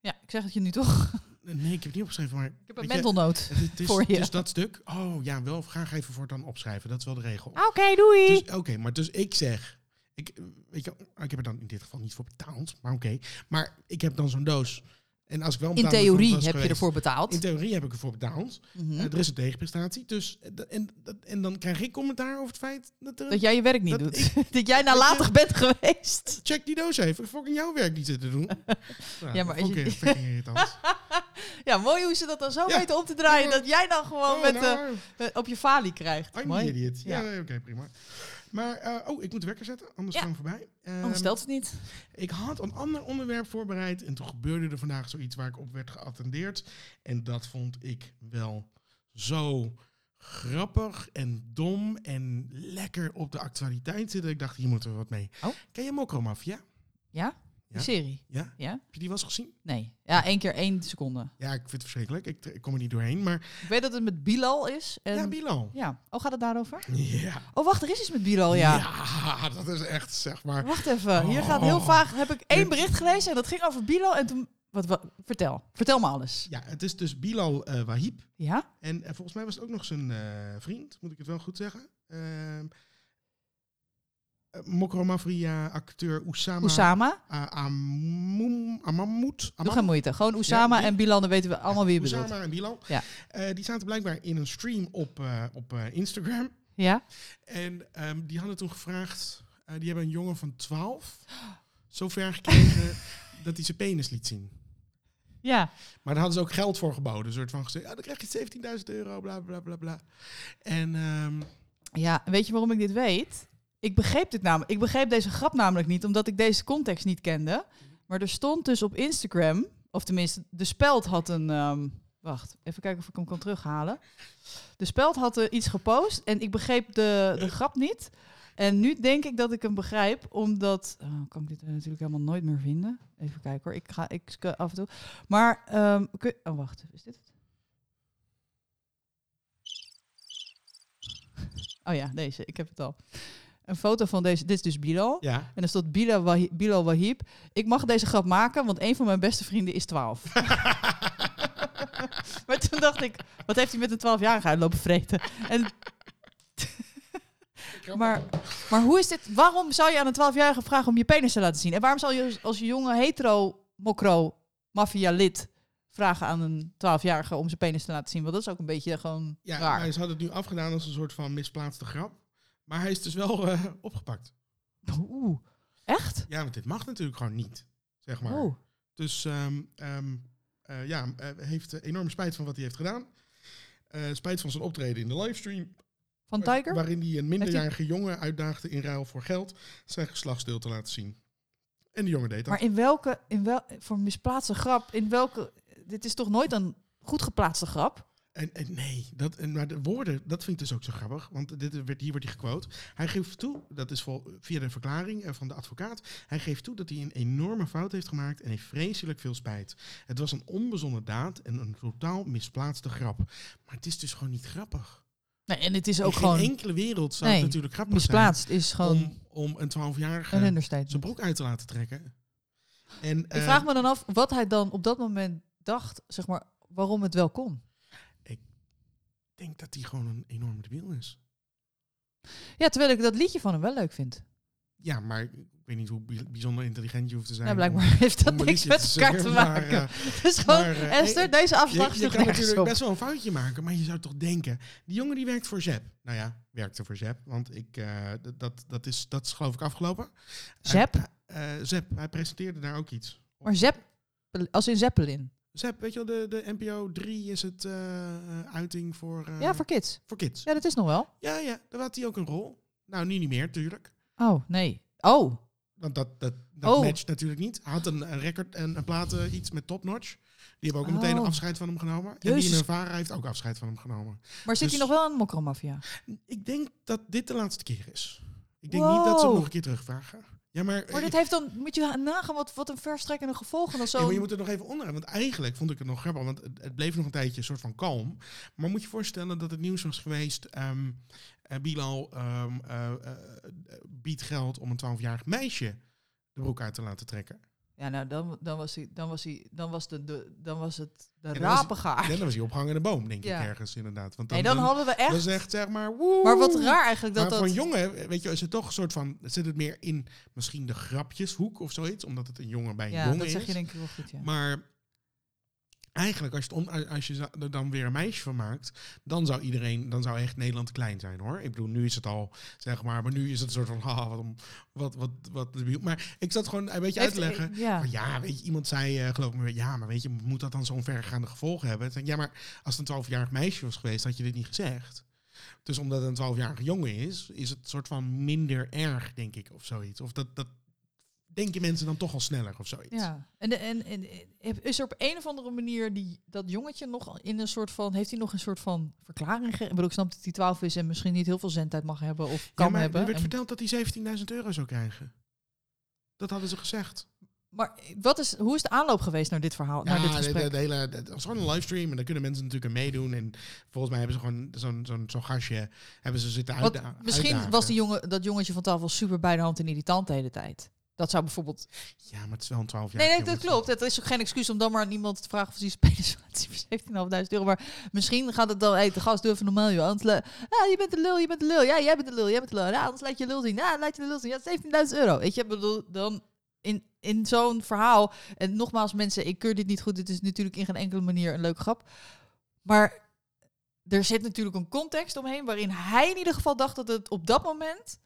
Ja, ik zeg het je nu toch.
Nee, ik heb het niet opgeschreven, maar...
Ik heb een
weet je,
mentalnood.
Het, het
(laughs)
is,
voor je.
het is dat stuk. Oh ja, wel. Graag even voortaan opschrijven. Dat is wel de regel.
Oké, doei.
Dus, Oké, maar dus ik zeg. Ik, eh, weet je, ik heb er dan in dit geval niet voor betaald, maar oké. Maar ik heb dan zo'n doos. En als ik wel
in
betaald
theorie heb
was
je
geweest-
ervoor betaald.
In theorie heb ik ervoor betaald.
Mhm.
Eh, er is een tegenprestatie. Dus, eh, da- en, dat- en dan krijg ik commentaar over het feit dat er.
dat jij je werk niet
dat
doet. (laughs) dat jij nalatig bent geweest.
Check die doos even. Fucking jouw werk niet
(laughs)
zitten doen.
Ja, maar als
oké,
je- Oh,
fucking
(laughs)
irritant.
Ja, mooi hoe ze dat dan zo
Ja.
weten om te draaien.
Ja.
Dat jij dan gewoon
Oh,
met, eh,
nou,
eh, op je falie krijgt.
I'm an
mooi.
idiot. Ja,
Ja.
nee, oké, prima. Maar, eh, oh, ik moet de wekker zetten, anders
Ja.
gaan we voorbij.
Anders
Ehm,
Oh, stelt het niet.
Ik had een ander onderwerp voorbereid en toen gebeurde er vandaag zoiets waar ik op werd geattendeerd. En dat vond ik wel zo grappig en dom en lekker op de actualiteit zitten. Ik dacht, hier moeten we wat mee.
Oh.
Ken je Mokromafia?
De serie.
Ja?
Ja?
Heb je die wel eens gezien?
Nee. Ja, één keer één seconde.
Ja, ik vind het verschrikkelijk. Ik, ik kom er niet doorheen, maar...
Ik weet dat het met Bilal is. En...
Ja, Bilal.
Ehm. Ja. Oh, gaat het daarover?
Ja.
Oh, wacht, er is iets met Bilal, ja.
Ja, (laughs) dat is echt, zeg maar...
Wacht even. Hier
Oh.
gaat heel vaag. Heb ik één bericht gelezen en dat ging over Bilal. En toen. Wat, wat, vertel. Vertel me alles.
Ja, het is dus Bilal eh Wahib.
Ja?
En eh, volgens mij was het ook nog zijn eh, vriend, moet ik het wel goed zeggen. Ehm eh, Mokromafria acteur Oussama
Oesama?
A- Amoum- Amammout.
Doe
Amam-
geen moeite. Gewoon Oesama
die-
en Bilal, dan weten we allemaal wie je
Oussama
bedoelt.
en Bilal.
Ja.
Eh, die zaten blijkbaar in een stream op, eh, op eh, Instagram.
Ja?
En ehm, die hadden toen gevraagd... eh, die hebben een jongen van 12 (gasps) zover gekregen dat hij zijn penis liet zien.
Ja.
Maar daar hadden ze ook geld voor geboden. Een soort van gezegd, ja, dan krijg je 17.000 euro, bla bla bla bla. En ehm,
Ja, en weet je waarom ik dit weet? Ik begreep dit namelijk. Ik begreep deze grap namelijk niet, omdat ik deze context niet kende. Maar er stond dus op Instagram, of tenminste, de Speld had een. ehm, wacht, even kijken of ik hem kan terughalen. De Speld had eh, iets gepost en ik begreep de, de grap niet. En nu denk ik dat ik hem begrijp, omdat. Oh, kan ik dit eh, natuurlijk helemaal nooit meer vinden? Even kijken hoor, ik ga ik sc- af en toe. Maar. ehm, kun- oh, wacht, is dit het? Oh ja, deze, ik heb het al. Een foto van deze, dit is dus Bilal.
ja...
En dan stond Bilal, Wahi- Bilal Wahib. Ik
(laughs)
mag deze grap maken, want een van mijn beste vrienden is 12. (laughs) maar toen toen dacht ik, wat heeft hij met een 12-jarige uitlopen vreten?
(laughs)
En, maar, maar hoe is dit? Waarom zou je aan een 12-jarige vragen om je penis te laten zien? En waarom zou je als- als je jonge hetero, mokro, maffia lid vragen aan een 12-jarige om zijn penis te laten zien? Want dat is ook een beetje gewoon
Ja,
raar.
maar ze hadden het nu afgedaan als een soort van misplaatste grap. Maar hij is dus wel eh, opgepakt.
Oeh, echt?
Ja, want dit mag natuurlijk gewoon niet, zeg maar.
Oh.
Dus ehm, ehm, eh, ja, eh, heeft eh, enorm spijt van wat hij heeft gedaan. Eh, spijt van zijn optreden in de livestream.
Van Tiger?
Waarin hij een minderjarige jongen uitdaagde in ruil voor geld zijn geslachtsdeel te laten zien. En de jongen deed dat.
Maar in welke, in wel, voor misplaatste grap, in welke, dit is toch nooit een goed geplaatste grap?
En, en nee, dat, en, maar de woorden, dat vind ik dus ook zo grappig. Want dit werd, hier wordt hij gequote. Hij geeft toe, dat is vol, via de verklaring eh, van de advocaat. Hij geeft toe dat hij een enorme fout heeft gemaakt en heeft vreselijk veel spijt. Het was een onbezonnen daad en een totaal misplaatste grap. Maar het is dus gewoon niet grappig.
Nee, en het is
In
ook
geen
gewoon
enkele wereld zou het
Nee,
natuurlijk grappig zijn
misplaatst, is gewoon
om, om een
een
12-jarige
understatement.
zijn broek uit te laten trekken. En, eh,
Ik vraag me dan af wat hij dan op dat moment dacht, zeg maar, waarom het wel kon.
denk dat hij gewoon een enorme debiel is.
Ja, terwijl ik dat liedje van hem wel leuk vind.
Ja, maar ik weet niet hoe bij- bijzonder intelligent je hoeft te zijn.
Ja,
om-
Nou, blijkbaar (laughs) heeft dat
om een
niks
liedje
met elkaar te
zingen, maar,
maken.
eh,
dus gewoon,
maar, eh,
Esther,
eh,
deze afslag
je, je
sloeg
kan
nergens
natuurlijk
op.
best wel een foutje maken, maar je zou toch denken... Die jongen die werkt voor Zep. Nou ja, werkte voor Zep, want ik, eh, d- dat, dat, is, dat is geloof ik afgelopen.
Zep?
Hij, eh, Zep, hij presenteerde daar ook iets.
Maar Zepp, als in Zeppelin.
Zep, weet je wel, de, de NPO 3 is het eh, eh, uiting voor, eh,
Ja, voor kids.
voor kids.
Ja, dat is nog wel.
Ja, ja, daar had hij ook een rol. Nou, nu niet meer, tuurlijk.
Oh, nee. Oh,
Want dat, dat, dat
Oh.
matcht natuurlijk niet. Hij had een, een record en een platen, iets met topnotch. Die hebben ook meteen
Oh.
afscheid van hem genomen. En die
Jezus.
Nirvana heeft ook afscheid van hem genomen.
maar zit
Dus-
hij nog wel aan de mokromafia?
Ik denk dat dit de laatste keer is. Ik denk
Wow.
niet dat ze hem nog een keer terugvragen. Ja, maar,
Maar dit
eh,
heeft dan, moet je nagaan wat, wat een verstrekkende gevolgen dan
ja,
zo.
maar je moet er nog even onder. Want eigenlijk vond ik het nog grappig. Want het, het bleef nog een tijdje een soort van kalm. Maar moet je voorstellen dat het nieuws was geweest... ehm eh, Bilal ehm, eh, eh, biedt geld om een 12-jarig meisje de broek uit te laten trekken.
Ja, nou, dan, dan was hij, dan was hij, dan was de, de dan was het de
dan was-
rapengaar.
En dan was hij opgehangen in een boom, denk
Ja.
ik ergens inderdaad. Want dan,
Nee, dan
dan-
hadden we echt.
dan is echt zeg maar... woe.
maar wat raar eigenlijk dat
maar van
dat.
jongen, weet je, is het toch een soort van... Zit het meer in misschien de grapjeshoek of zoiets? Omdat het een jongen bij een
Ja,
jongen
dat zeg
is.
je denk ik wel goed. Ja.
Maar eigenlijk, als je, het om, als je za- er dan weer een meisje van maakt... dan zou iedereen, dan zou echt Nederland klein zijn, hoor. Ik bedoel, nu is het al, zeg maar... maar nu is het een soort van, (laughs) haha, wat, om- wat, wat, wat debiel. Maar ik zat gewoon een beetje uit
Heeft-
te leggen...
Ja.
Van, Oh, ja, weet je, iemand zei, eh, geloof me, ja, maar weet je, moet dat dan zo'n verregaande gevolgen hebben? Ik Denk, ja, maar als het een 12-jarig meisje was geweest, had je dit niet gezegd. Dus omdat het een 12-jarige jongen is, is het soort van minder erg, denk ik, of zoiets. Of dat, dat denken mensen dan toch al sneller of zoiets.
Ja. En, en, en en is er op een of andere manier die, dat jongetje nog in een soort van. Heeft hij nog een soort van verklaring gegeven? Ik bedoel, ik snap dat hij 12 is en misschien niet heel veel zendtijd mag hebben of kan
Ja, maar
hebben.
Er werd
En-
verteld dat hij 17.000 euro zou krijgen. Dat hadden ze gezegd.
maar wat is, hoe is de aanloop geweest naar dit verhaal? naar Oh, dit
de-
gesprek?
De, de hele, het was gewoon een livestream en daar kunnen mensen natuurlijk aan meedoen. En volgens mij hebben ze gewoon zo'n zo'n zo'n gastje, hebben ze zitten
Want
uitda-
misschien
uitdagen.
was die jongen, dat jongetje van 12 wel super bij de hand en irritant de hele tijd. Dat zou bijvoorbeeld.
Ja, maar het is wel een 12 jaar
nee, nee, dat klopt. Het is ook geen excuus om dan maar aan iemand te vragen of ze iets (laughs) spelers voor 17.500 euro. Maar misschien gaat het dan, hey, de gast, doe even normaal, joh. Anders, le- ja, je bent de lul, je bent de lul. Ja, jij bent de lul, jij bent de lul. Ja, anders laat je lul zien. Ja, laat je de lul zien. Ja, 17.000 euro. Weet je, ik bedoel, dan in, in zo'n verhaal. En nogmaals, mensen, ik keur dit niet goed. Dit is natuurlijk in geen enkele manier een leuke grap. Maar er zit natuurlijk een context omheen waarin hij in ieder geval dacht dat het op dat moment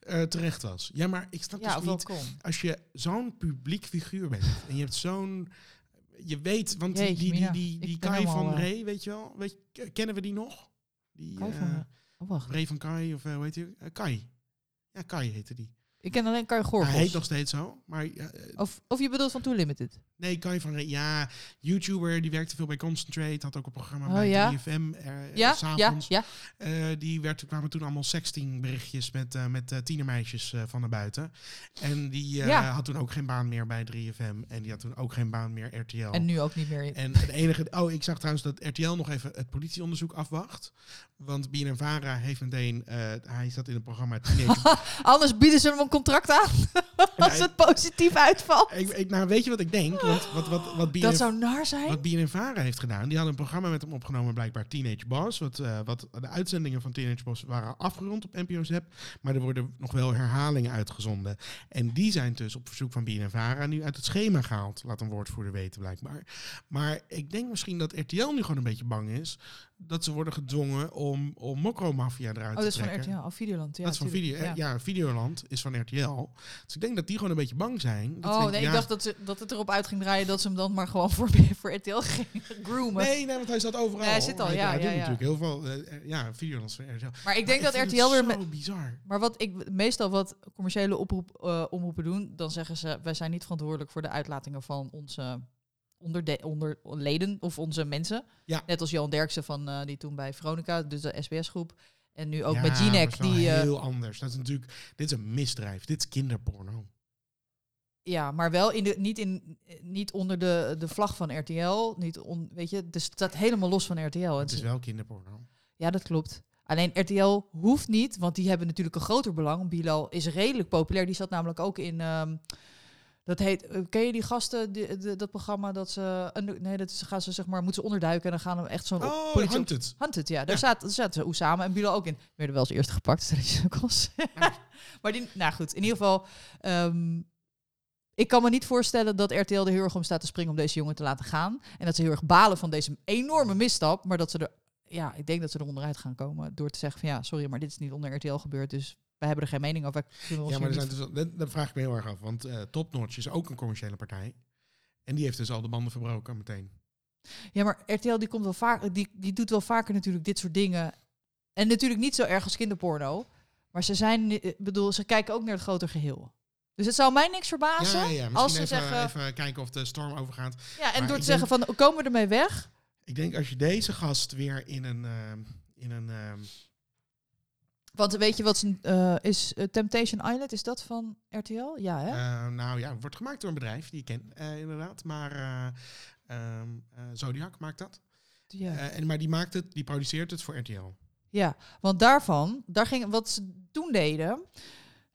eh, terecht was. Ja, maar ik snap
ja,
dus
of wel
niet...
kon.
Als je zo'n publiek figuur
(laughs)
bent en je hebt zo'n... Je weet, want die-
Jeetje,
die, die,
Mina,
die,
ik
die
ben
Kai
helemaal,
van
eh,
Ree, weet je wel? Weet je, kennen we die nog? Die,
Kai
eh,
van Ree. Oh, wacht.
Ree van Kai, of eh, hoe heet die? Eh, Kai. Ja, Kai heette die.
Ik ken alleen Kai
Hij heet
Gorgels.
nog steeds zo, maar... eh,
Of, of je bedoelt van Too Limited.
nee, Kai van Ree, ja, YouTuber, die werkte veel bij Concentrate, had ook een programma
Oh,
bij
ja.
3FM, eh,
Ja, ja,
s'avonds.
ja.
Eh, die werd, kwamen toen allemaal sexting-berichtjes met, eh, met eh, tienermeisjes eh, van naar buiten. En die eh,
Ja.
had toen ook geen baan meer bij 3FM. En die had toen ook geen baan meer RTL.
En nu ook niet meer. in.
Oh. En het enige... Oh, ik zag trouwens dat RTL nog even het politieonderzoek afwacht. Want BNNVARA heeft meteen... eh, hij zat in het programma Teenage...
(laughs) Anders bieden ze hem een contract aan (laughs) als
Nee.
het positief uitvalt.
Ik, ik, nou, weet je wat ik denk? Want wat, wat, wat, BNF
Dat zou naar zijn. Oh,
wat BNF Vara heeft gedaan, die hadden een programma met hem opgenomen, blijkbaar Teenage Boss. Wat, eh, wat de uitzendingen van Teenage Boss waren afgerond op NPO Zep, maar er worden nog wel herhalingen uitgezonden. En die zijn dus op verzoek van BNF Vara nu uit het schema gehaald, laat een woordvoerder weten blijkbaar. Maar ik denk misschien dat RTL nu gewoon een beetje bang is dat ze worden gedwongen om, om Mokro-maffia eruit
Oh,
te
dat is van
trekken.
RTL. Oh, Videoland. Ja,
dat is van
tuurlijk,
video, eh, ja. Videoland is van RTL. Dus ik denk dat die gewoon een beetje bang zijn. Dat ze
Oh
denken,
nee,
ja,
ik dacht dat, ze, dat het erop uit ging draaien dat ze hem dan maar gewoon voor, (laughs) voor RTL ging groomen.
Nee, nee, want hij zat overal.
Nee, hij zit al, ja,
hij
ja, ja.
doet natuurlijk heel veel. eh, ja, video's van RTL.
Maar ik denk
Maar
dat
vind
RTL
het
weer...
Zo
met-
bizar.
Maar wat ik meestal wat commerciële oproep, eh, omroepen doen, dan zeggen ze wij zijn niet verantwoordelijk voor de uitlatingen van onze onderde- onder, leden of onze mensen.
Ja.
Net als Johan Derksen van eh, die toen bij Veronica, dus de SBS-groep. En nu ook
Ja,
met
maar het
Jinek.
is wel
Die, eh,
heel anders. Dat is natuurlijk. Dit is een misdrijf. Dit is kinderporno.
ja, maar wel in de, niet, in, eh, niet onder de, de vlag van RTL. Niet on, weet je, dus het staat helemaal los van RTL. En
Het
ze-
is wel kinderporno.
Ja, dat klopt. Alleen RTL hoeft niet, want die hebben natuurlijk een groter belang. Bilal is redelijk populair. Die zat namelijk ook in. ehm, dat heet. eh, Ken je die gasten, die- de- dat programma dat ze. under- Nee, dat is- gaan ze zeg maar. Moeten ze onderduiken en dan gaan hem echt zo'n.
Oh,
politie-
hangt het.
Hunted, ja. Daar
Ja.
zaten, zaten Oesama en Bilal ook in. Die werden wel als eerste gepakt, (laughs) struissukkels. maar die, nou goed, in ieder geval... ehm, ik kan me niet voorstellen dat RTL er heel erg om staat te springen om deze jongen te laten gaan. En dat ze heel erg balen van deze enorme misstap. Maar dat ze er, ja, ik denk dat ze er onderuit gaan komen door te zeggen van ja, sorry, maar dit is niet onder RTL gebeurd. Dus wij hebben er geen mening over. Wij kunnen ons
Ja, maar er
hier
zijn
niet-
dus, dat, dat vraag ik me heel erg af. Want eh Topnotch is ook een commerciële partij. En die heeft dus al de banden verbroken meteen.
ja, maar RTL die, komt wel vaak, die, die doet wel vaker natuurlijk dit soort dingen. En natuurlijk niet zo erg als kinderporno. Maar ze zijn, eh, ik bedoel, ze kijken ook naar het groter geheel. Dus het zou mij niks verbazen.
ja, ja. Misschien
als ze
even,
zeggen-
even kijken of de storm overgaat.
Ja, en
Maar
door
ik
te zeggen van, komen we ermee weg?
Ik denk als je deze gast weer in een. ehm, in een ehm,
Want weet je wat ze, eh, is eh, Temptation Island? Is dat van RTL? Ja, hè?
Eh, nou ja, wordt gemaakt door een bedrijf die ik ken, eh, inderdaad. Maar eh, ehm, eh, Zodiac maakt dat.
ja.
Eh, en, maar die maakt het, die produceert het voor RTL.
ja, want daarvan, daar ging, wat ze toen deden...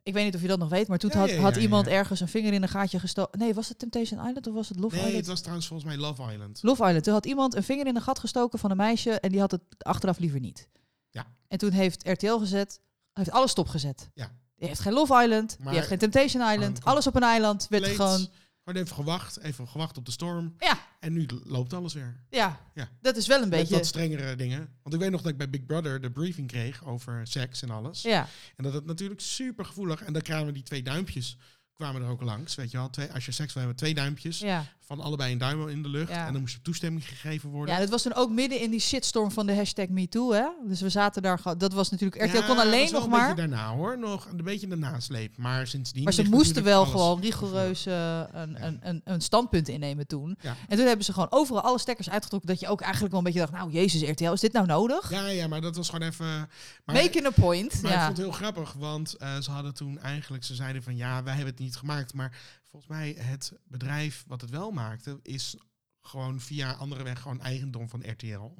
Ik weet niet of je dat nog weet, maar toen
Ja,
had,
ja, ja,
had
ja.
iemand ergens een vinger in een gaatje gestoken. Nee, was het Temptation Island of was het Love
nee,
Island?
het was trouwens volgens mij Love Island.
Love Island. Toen had iemand een vinger in een gat gestoken van een meisje en die had het achteraf liever niet.
Ja.
En toen heeft RTL gezet, heeft alles stopgezet.
Ja.
Die heeft geen Love Island,
Maar-
die heeft geen Temptation
dan
Island.
komt-
Alles op een eiland werd
Leeds,
gewoon...
Gewoon even gewacht, even gewacht op de storm.
Ja.
En nu loopt alles weer.
Ja,
Ja.
dat is wel een
Met
beetje...
wat strengere dingen. Want ik weet nog dat ik bij Big Brother de briefing kreeg over seks en alles.
Ja.
En dat het natuurlijk super gevoelig. En dan kwamen die twee duimpjes kwamen er ook langs. Weet je wel, twee, als je seks wil hebben, twee duimpjes.
Ja.
Van allebei een duim in de lucht.
Ja.
En dan moest er toestemming gegeven worden.
ja, dat was toen ook midden in die shitstorm van de hashtag MeToo, hè? Dus we zaten daar... gewoon- Dat was natuurlijk... RTL kon alleen nog
Een
maar...
beetje daarna hoor, nog een beetje daarna sleep. Maar sindsdien.
Maar ze
ligt
moesten
natuurlijk
wel
alles
gewoon
voor.
rigoureus eh, een, een, een, een standpunt innemen toen.
Ja.
En toen hebben ze gewoon overal alle stekkers uitgetrokken... dat je ook eigenlijk wel een beetje dacht... nou, jezus RTL, is dit nou nodig?
Ja, ja, maar dat was gewoon even. Maar,
Making a point.
maar ik
ja.
vond het heel grappig, want eh, ze hadden toen eigenlijk, ze zeiden van ja, wij hebben het niet gemaakt. Maar volgens mij het bedrijf wat het wel maakte, is gewoon via andere weg gewoon eigendom van RTL.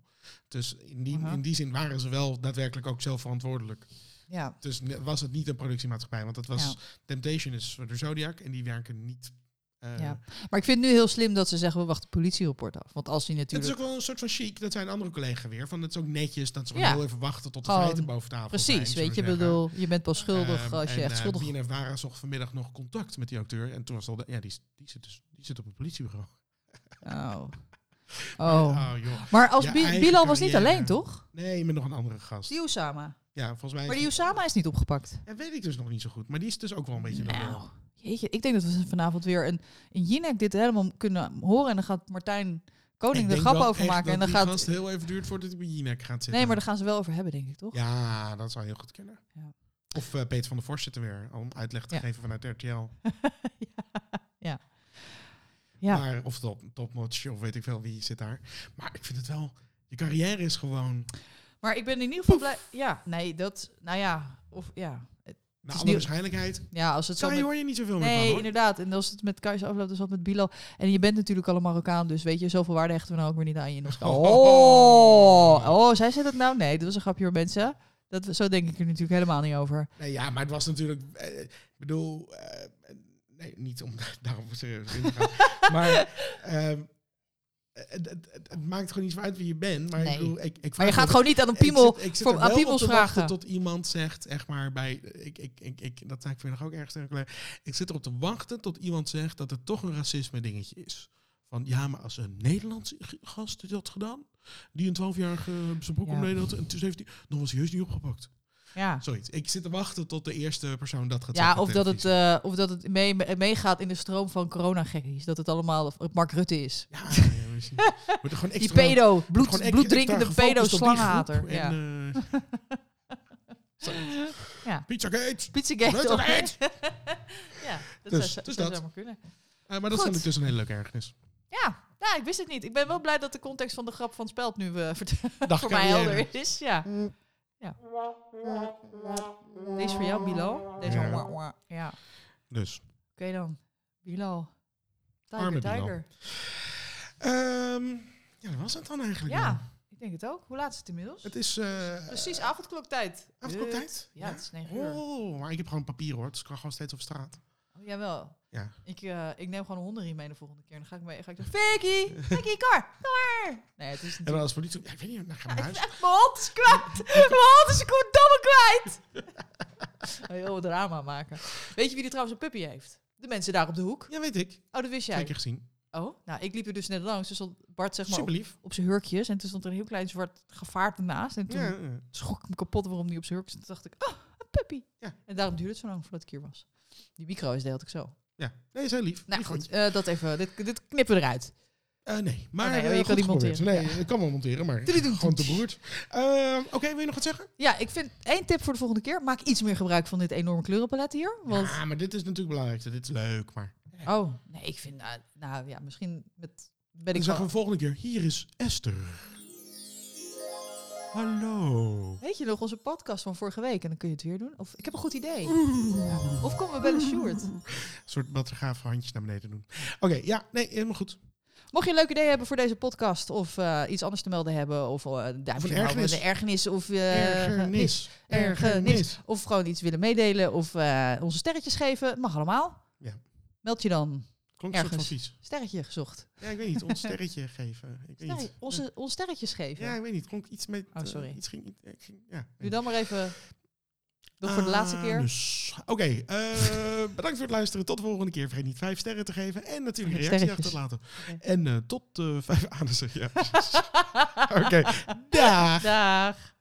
Dus in die,
Aha.
in die zin waren ze wel daadwerkelijk ook zelf verantwoordelijk.
ja.
Dus ne- was het niet een productiemaatschappij, want dat was
Ja.
Temptation is door Zodiac en die werken niet. eh,
Ja. Maar ik vind het nu heel slim dat ze zeggen... we wachten het politierapport af. Want als die
Het is
natuurlijk...
ook wel een soort van chic. Dat zijn andere collega weer. Van het is ook netjes dat ze gewoon
Ja.
heel even wachten tot de
Gewoon,
feiten boven tafel zijn.
Precies,
zullen
weet je,
we zeggen.
bedoel, je bent pas schuldig
Ehm,
als je
en,
echt
eh,
schuldig
BNF Vara zocht vanmiddag nog contact met die acteur. En toen was het al... de- ja, die, is- die, zit dus, die zit op het politiebureau.
Oh.
Oh, joh.
Maar als
Je
Bi-
eigen
Bilal was niet
carrière.
alleen, toch?
Nee, met nog een andere gast.
Die Usama.
Ja, volgens mij...
Maar
is
die Usama is niet opgepakt.
Ja, weet ik dus nog niet zo goed. Maar die is dus ook wel een beetje... de lul.
Nou, jeetje. Ik denk dat we vanavond weer een, een Jinek dit helemaal kunnen horen. En dan gaat Martijn
Ik
Koning er
denk
grap
wel
over
echt
maken. En
dat
dan
die gast
gaat...
heel even duurt voordat hij bij Jinek gaat zitten.
Nee, maar daar gaan ze wel over hebben, denk ik, toch?
Ja, dat zou heel goed kunnen.
Ja.
Of eh, Peter van der Vorst zit er weer. Om uitleg te
(laughs) Ja.
geven vanuit RTL.
Ja.
Maar, of top, topnotch, of weet ik veel wie zit daar. Maar ik vind het wel... Je carrière is gewoon...
Maar ik ben in ieder geval blij... Ja, nee, dat... Nou ja, of ja.
Naar
is
alle
nieuw-
waarschijnlijkheid...
Ja, als het zo...
Daar
met-
hoor je niet zoveel meer van,
Nee,
hoor.
inderdaad. En als het met Kajs afloopt, dus wat met Bilal. En je bent natuurlijk al een Marokkaan, dus weet je, zoveel waarde hechten we nou ook weer niet aan je
(laughs)
Noska. Oh, oh, zij zei dat nou? Nee, dat was een grapje hoor, mensen. Dat, zo denk ik er natuurlijk helemaal niet over.
Nee, ja, maar het was natuurlijk... eh, bedoel, eh, nee, niet om (laughs) daarop serieus in
(laughs)
te gaan. maar ehm, het, het- het- het maakt gewoon niet zo uit wie je bent. Maar,
Nee.
ik bedoel, ik, ik
Maar
vraag
je gaat
me-
gewoon niet aan een
ik zit-
piemel,
ik zit
voor,
er
aan
wel op
piemels
te wachten
vragen.
tot iemand zegt, echt maar, bij, ik, ik, ik, ik, dat zei ik vanmiddag ook ergens tegen een collega. Ik zit erop te wachten tot iemand zegt dat het toch een racisme dingetje is. Van ja, maar als een Nederlandse g- gast dit had gedaan, die een 12-jarige zijn broek
Ja.
omleden had en toen 17, dan was hij heus niet opgepakt.
Ja,
Zoiets. Ik zit te wachten tot de eerste persoon dat gaat
ja
zeggen.
of,
op
dat het,
televisie.
eh, of dat het mee- me- meegaat in de stroom van coronagekkies. Dat het allemaal of het Mark Rutte is.
Ja, ja,
(laughs)
misschien. Wordt er gewoon
Die
extra,
pedo,
wordt
bloed,
gewoon extra
bloeddrinkende
gefocust op
pedo
die groep
slangenhater.
en,
Ja.
eh, (laughs) zoiets.
Ja.
Pizzagate!
Pizzagate.
Rutte
of-
eruit!
(laughs) ja, dat
Dus,
zou,
dus
zou
dat.
zomaar kunnen.
Eh, maar dat
Goed.
vond ik dus een hele leuke ergernis.
Ja, ja, ik wist het niet. Ik ben wel blij dat de context van de grap van Speld nu eh, (laughs) vert-
Dag
voor mij
carrière.
helder is. Ja. ja. Deze is voor jou, Bilal. Deze
Ja.
ja. Wah, wah. ja. Oké
Dus.
dan. Bilal. Tiger,
Arme Bilal.
tiger.
Ehm, ja, dat was het dan eigenlijk.
Ja.
wel.
Ik denk het ook. Hoe laat is het inmiddels?
Het is eh
Precies, avondkloktijd. Eh,
afkloptijd.
Ja, het is 9 uur.
Oh, maar ik heb gewoon papier hoor, dus ik kan gewoon steeds op straat.
Oh, jawel.
Ja.
Ik, eh, ik neem gewoon een hondenriem mee de volgende keer. En dan ga ik mee. Ga ik zeggen,
(laughs)
Vicky, Vicky, kar, kar. Nee, het is
En dan
natuurlijk...
als politie, ja, ik weet niet, dan gaan we naar
Echt,
huis.
mijn hond is kwijt. Mijn hond is goddomme (laughs) kwijt. Heel wat drama maken. Weet je wie er trouwens een puppy heeft? De mensen daar op de hoek.
Ja, weet ik.
Oh, dat wist
Twee
jij.
keer gezien.
Oh, nou, ik liep er dus net langs. Dus stond Bart zeg maar
Super
op,
lief.
op zijn hurkjes. En toen stond er een heel klein zwart gevaarte naast. En toen
Ja, eh, ja.
schrok ik me kapot waarom die op zijn hurk stond. Toen dacht ik, oh, een puppy.
Ja.
En daarom duurde het zo lang voordat ik hier was. Die micro is deelt ik zo.
ja. Nee, is heel lief.
Nou
Lief
goed,
hond.
eh, dat even. Dit, dit knippen we eruit.
Eh, nee, maar
Oh, nee,
eh,
je kan
goed
die
geprobeerd.
monteren.
Nee, ik kan wel monteren, maar
Tudu-doe.
gewoon te beroerd. Ehm, Oké, wil je nog wat zeggen?
Ja, ik vind één tip voor de volgende keer. Maak iets meer gebruik van dit enorme kleurenpalet hier. Want,
Ja, maar dit is natuurlijk belangrijk. Dit is leuk,
(laughs)
maar...
Oh, nee, ik vind... Nou, nou ja, misschien met, ben
Dan
ik
zeggen
wel...
we volgende keer, hier is Esther. Hallo.
Weet je nog onze podcast van vorige week? En dan kun je het weer doen. Of ik heb een goed idee. Of komen we bellen Sjoerd?
Een soort battergaaf handjes naar beneden doen. Oké, ja, nee, helemaal goed.
Mocht je een leuk idee hebben voor deze podcast... of eh, iets anders te melden hebben... of eh een duimpje
Of
houden,
een ergernis.
een ergernis of... eh,
Ergernis.
(laughs) Ergernis. Of gewoon iets willen meedelen... of eh, onze sterretjes geven. Het mag allemaal.
Ja.
Meld je dan.
Klonk een soort van
Ergens.
vies.
Sterretje gezocht.
Ja, ik weet niet. Ons
(laughs)
sterretje geven. Ik weet
Sterre,
niet. Eh,
onze, ons sterretjes geven.
Ja, ik weet niet. Klonk iets met...
Oh, sorry.
eh, iets ging, iets- ik ging, ja.
Doe dan maar even. Nog
Ah,
voor de laatste keer.
Anus. Oké, eh, (laughs) bedankt voor het luisteren. Tot de volgende keer. Vergeet niet vijf sterren te geven. En natuurlijk een reactie achter
Sterretjes.
te laten.
Oké.
(laughs) ah,
(laughs)
En eh, tot eh, vijf anussen. Ja. Oké, dag.
Dag.